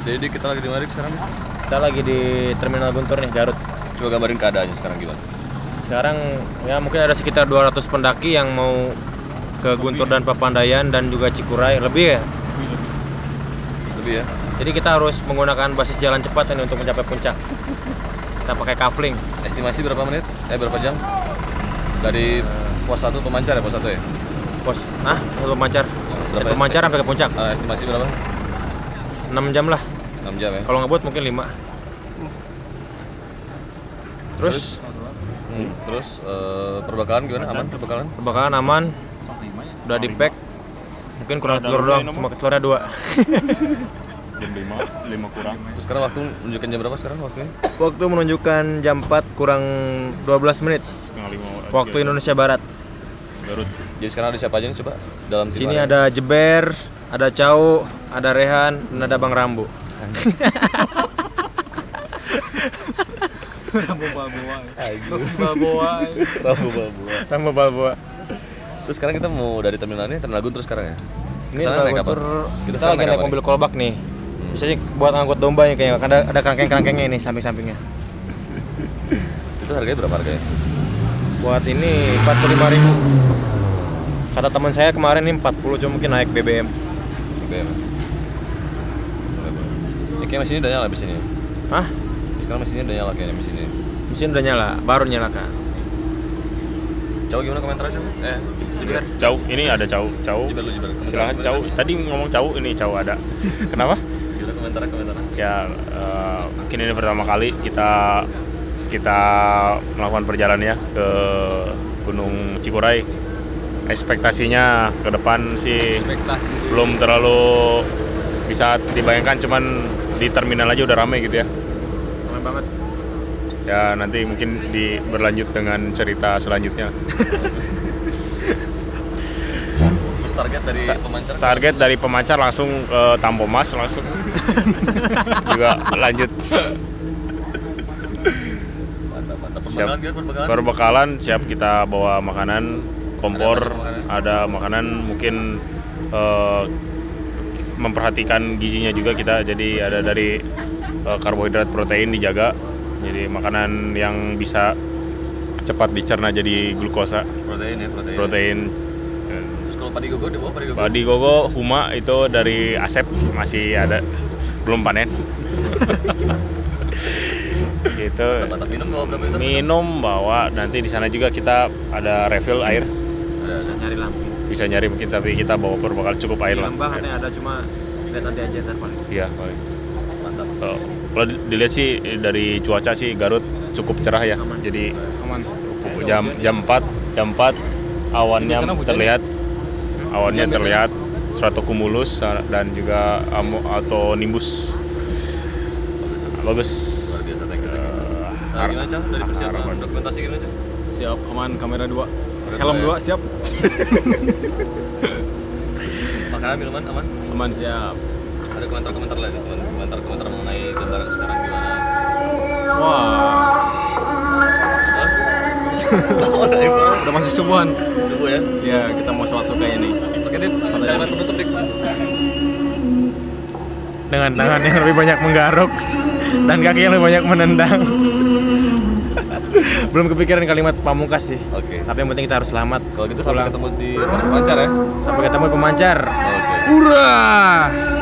Jadi kita lagi di mana sekarang? nih? Kita lagi di Terminal Guntur nih, Garut. Coba gambarin keadaannya sekarang gimana? Sekarang ya mungkin ada sekitar 200 pendaki yang mau ke Guntur dan Papandayan dan juga Cikuray lebih ya. Lebih ya. Jadi kita harus menggunakan basis jalan cepat ini untuk mencapai puncak. Kita pakai kafling. Estimasi berapa menit? Eh berapa jam? Dari pos 1 pemancar ya pos 1 ya? Pos, ah, untuk pemancar. Dari Berapa pemancar sampai ke puncak Eh, estimasi berapa? 6 jam lah. 6 jam ya. Kalau ngebut mungkin 5. Terus Hmm, Terus eh, perbekalan gimana? Aman perbekalan? kebakaran aman. Udah di pack. Mungkin kurang telur doang, cuma telurnya dua. jam lima lima kurang Terus sekarang waktu menunjukkan jam berapa sekarang waktunya? Waktu menunjukkan jam 4 kurang 12 menit setengah lima aja. waktu Indonesia Barat. Garut Jadi sekarang ada siapa aja nih coba? Dalam Di tim sini ada Jeber, ada Cau, ada Rehan, dan ada Bang Rambo. Babu, babu. Rambo Balboa. Terus sekarang kita mau dari terminalnya Terminal Guntur sekarang ya? Ini Kesana Terminal naik apa? Guntur, Kita kita, sekarang lagi naik naik apa Hmm. mobil kolbak nih. Bisa aja buat angkut domba ya kayaknya. Ada ada kerangkeng-kerangkengnya ini samping-sampingnya. Itu harganya berapa harganya? Buat ini 45.000. Kata teman saya kemarin ini 40 cuma mungkin naik BBM. BBM. Ya, kayaknya mesinnya udah nyala abis ini. Hah? Sekarang mesinnya udah nyala kayaknya mesinnya. Mesin udah nyala, baru nyalakan. Coba gimana komentarnya? Coba? Eh, jiber. cau ini ada cau cau Jiber lu jiber. silahkan cau tadi ngomong cau ini cau ada kenapa Gimana komentar komentar? ya eh, mungkin ini pertama kali kita kita melakukan perjalanannya ke Gunung Cikuray ekspektasinya ke depan sih Ekspektasi. belum terlalu bisa dibayangkan cuman di terminal aja udah rame gitu ya Keren banget. ya nanti mungkin di berlanjut dengan cerita selanjutnya Terus target dari pemancar target dari pemancar langsung ke Tampomas langsung juga lanjut mantap mantap. Siap. Perbekalan gimana perbekalan? berbekalan siap kita bawa makanan kompor ada makanan, mungkin eh, memperhatikan gizinya juga kita jadi ada dari eh, karbohidrat protein dijaga jadi makanan yang bisa cepat dicerna jadi glukosa Protein ya Iya. protein. protein Terus kalau padi gogo dia bawa padi gogo. Padi gogo huma itu dari Asep masih ada belum panen. gitu. Mantap minum bawa berapa liter? Minum bawa nanti di sana juga kita ada refill air Ada ada. Nyari lampu. bisa nyari mungkin tapi kita bawa berbekal cukup air lah. Lambangannya ada cuma lihat nanti aja ntar paling. Iya. boleh. Mantap. Kalau kalau di- dilihat sih dari cuaca sih Garut cukup cerah ya. Jadi Aman. jam jam 4 jam 4 awannya terlihat awannya terlihat strato cumulus uh, dan juga amo- atau nimbus bagus Luar biasa thank you. thank you. Eh, Nah, har- gimana cah dari persiapan harapan. dokumentasi gimana cah? Siap, aman kamera dua. Kamera Helm dua ya. dua siap. Makanan minuman aman? Aman siap. Ada komentar-komentar lain? Komentar-komentar mengenai gambar sekarang gimana? Wah, Oh, ada yang bawa. udah masuk subuhan. Subuh ya. Ya, kita mau sholat tuh kayak ini. Oke, Dit. Kalimat penutup, Dik. Dengan tangan yang lebih banyak menggaruk dan kaki yang lebih banyak menendang. Belum kepikiran kalimat pamungkas sih. Oke. Tapi yang penting kita harus selamat. Kalau gitu sampai Pulang. ketemu di Mas Pancar ya. Sampai ketemu pemancar. Oke. Hurrah!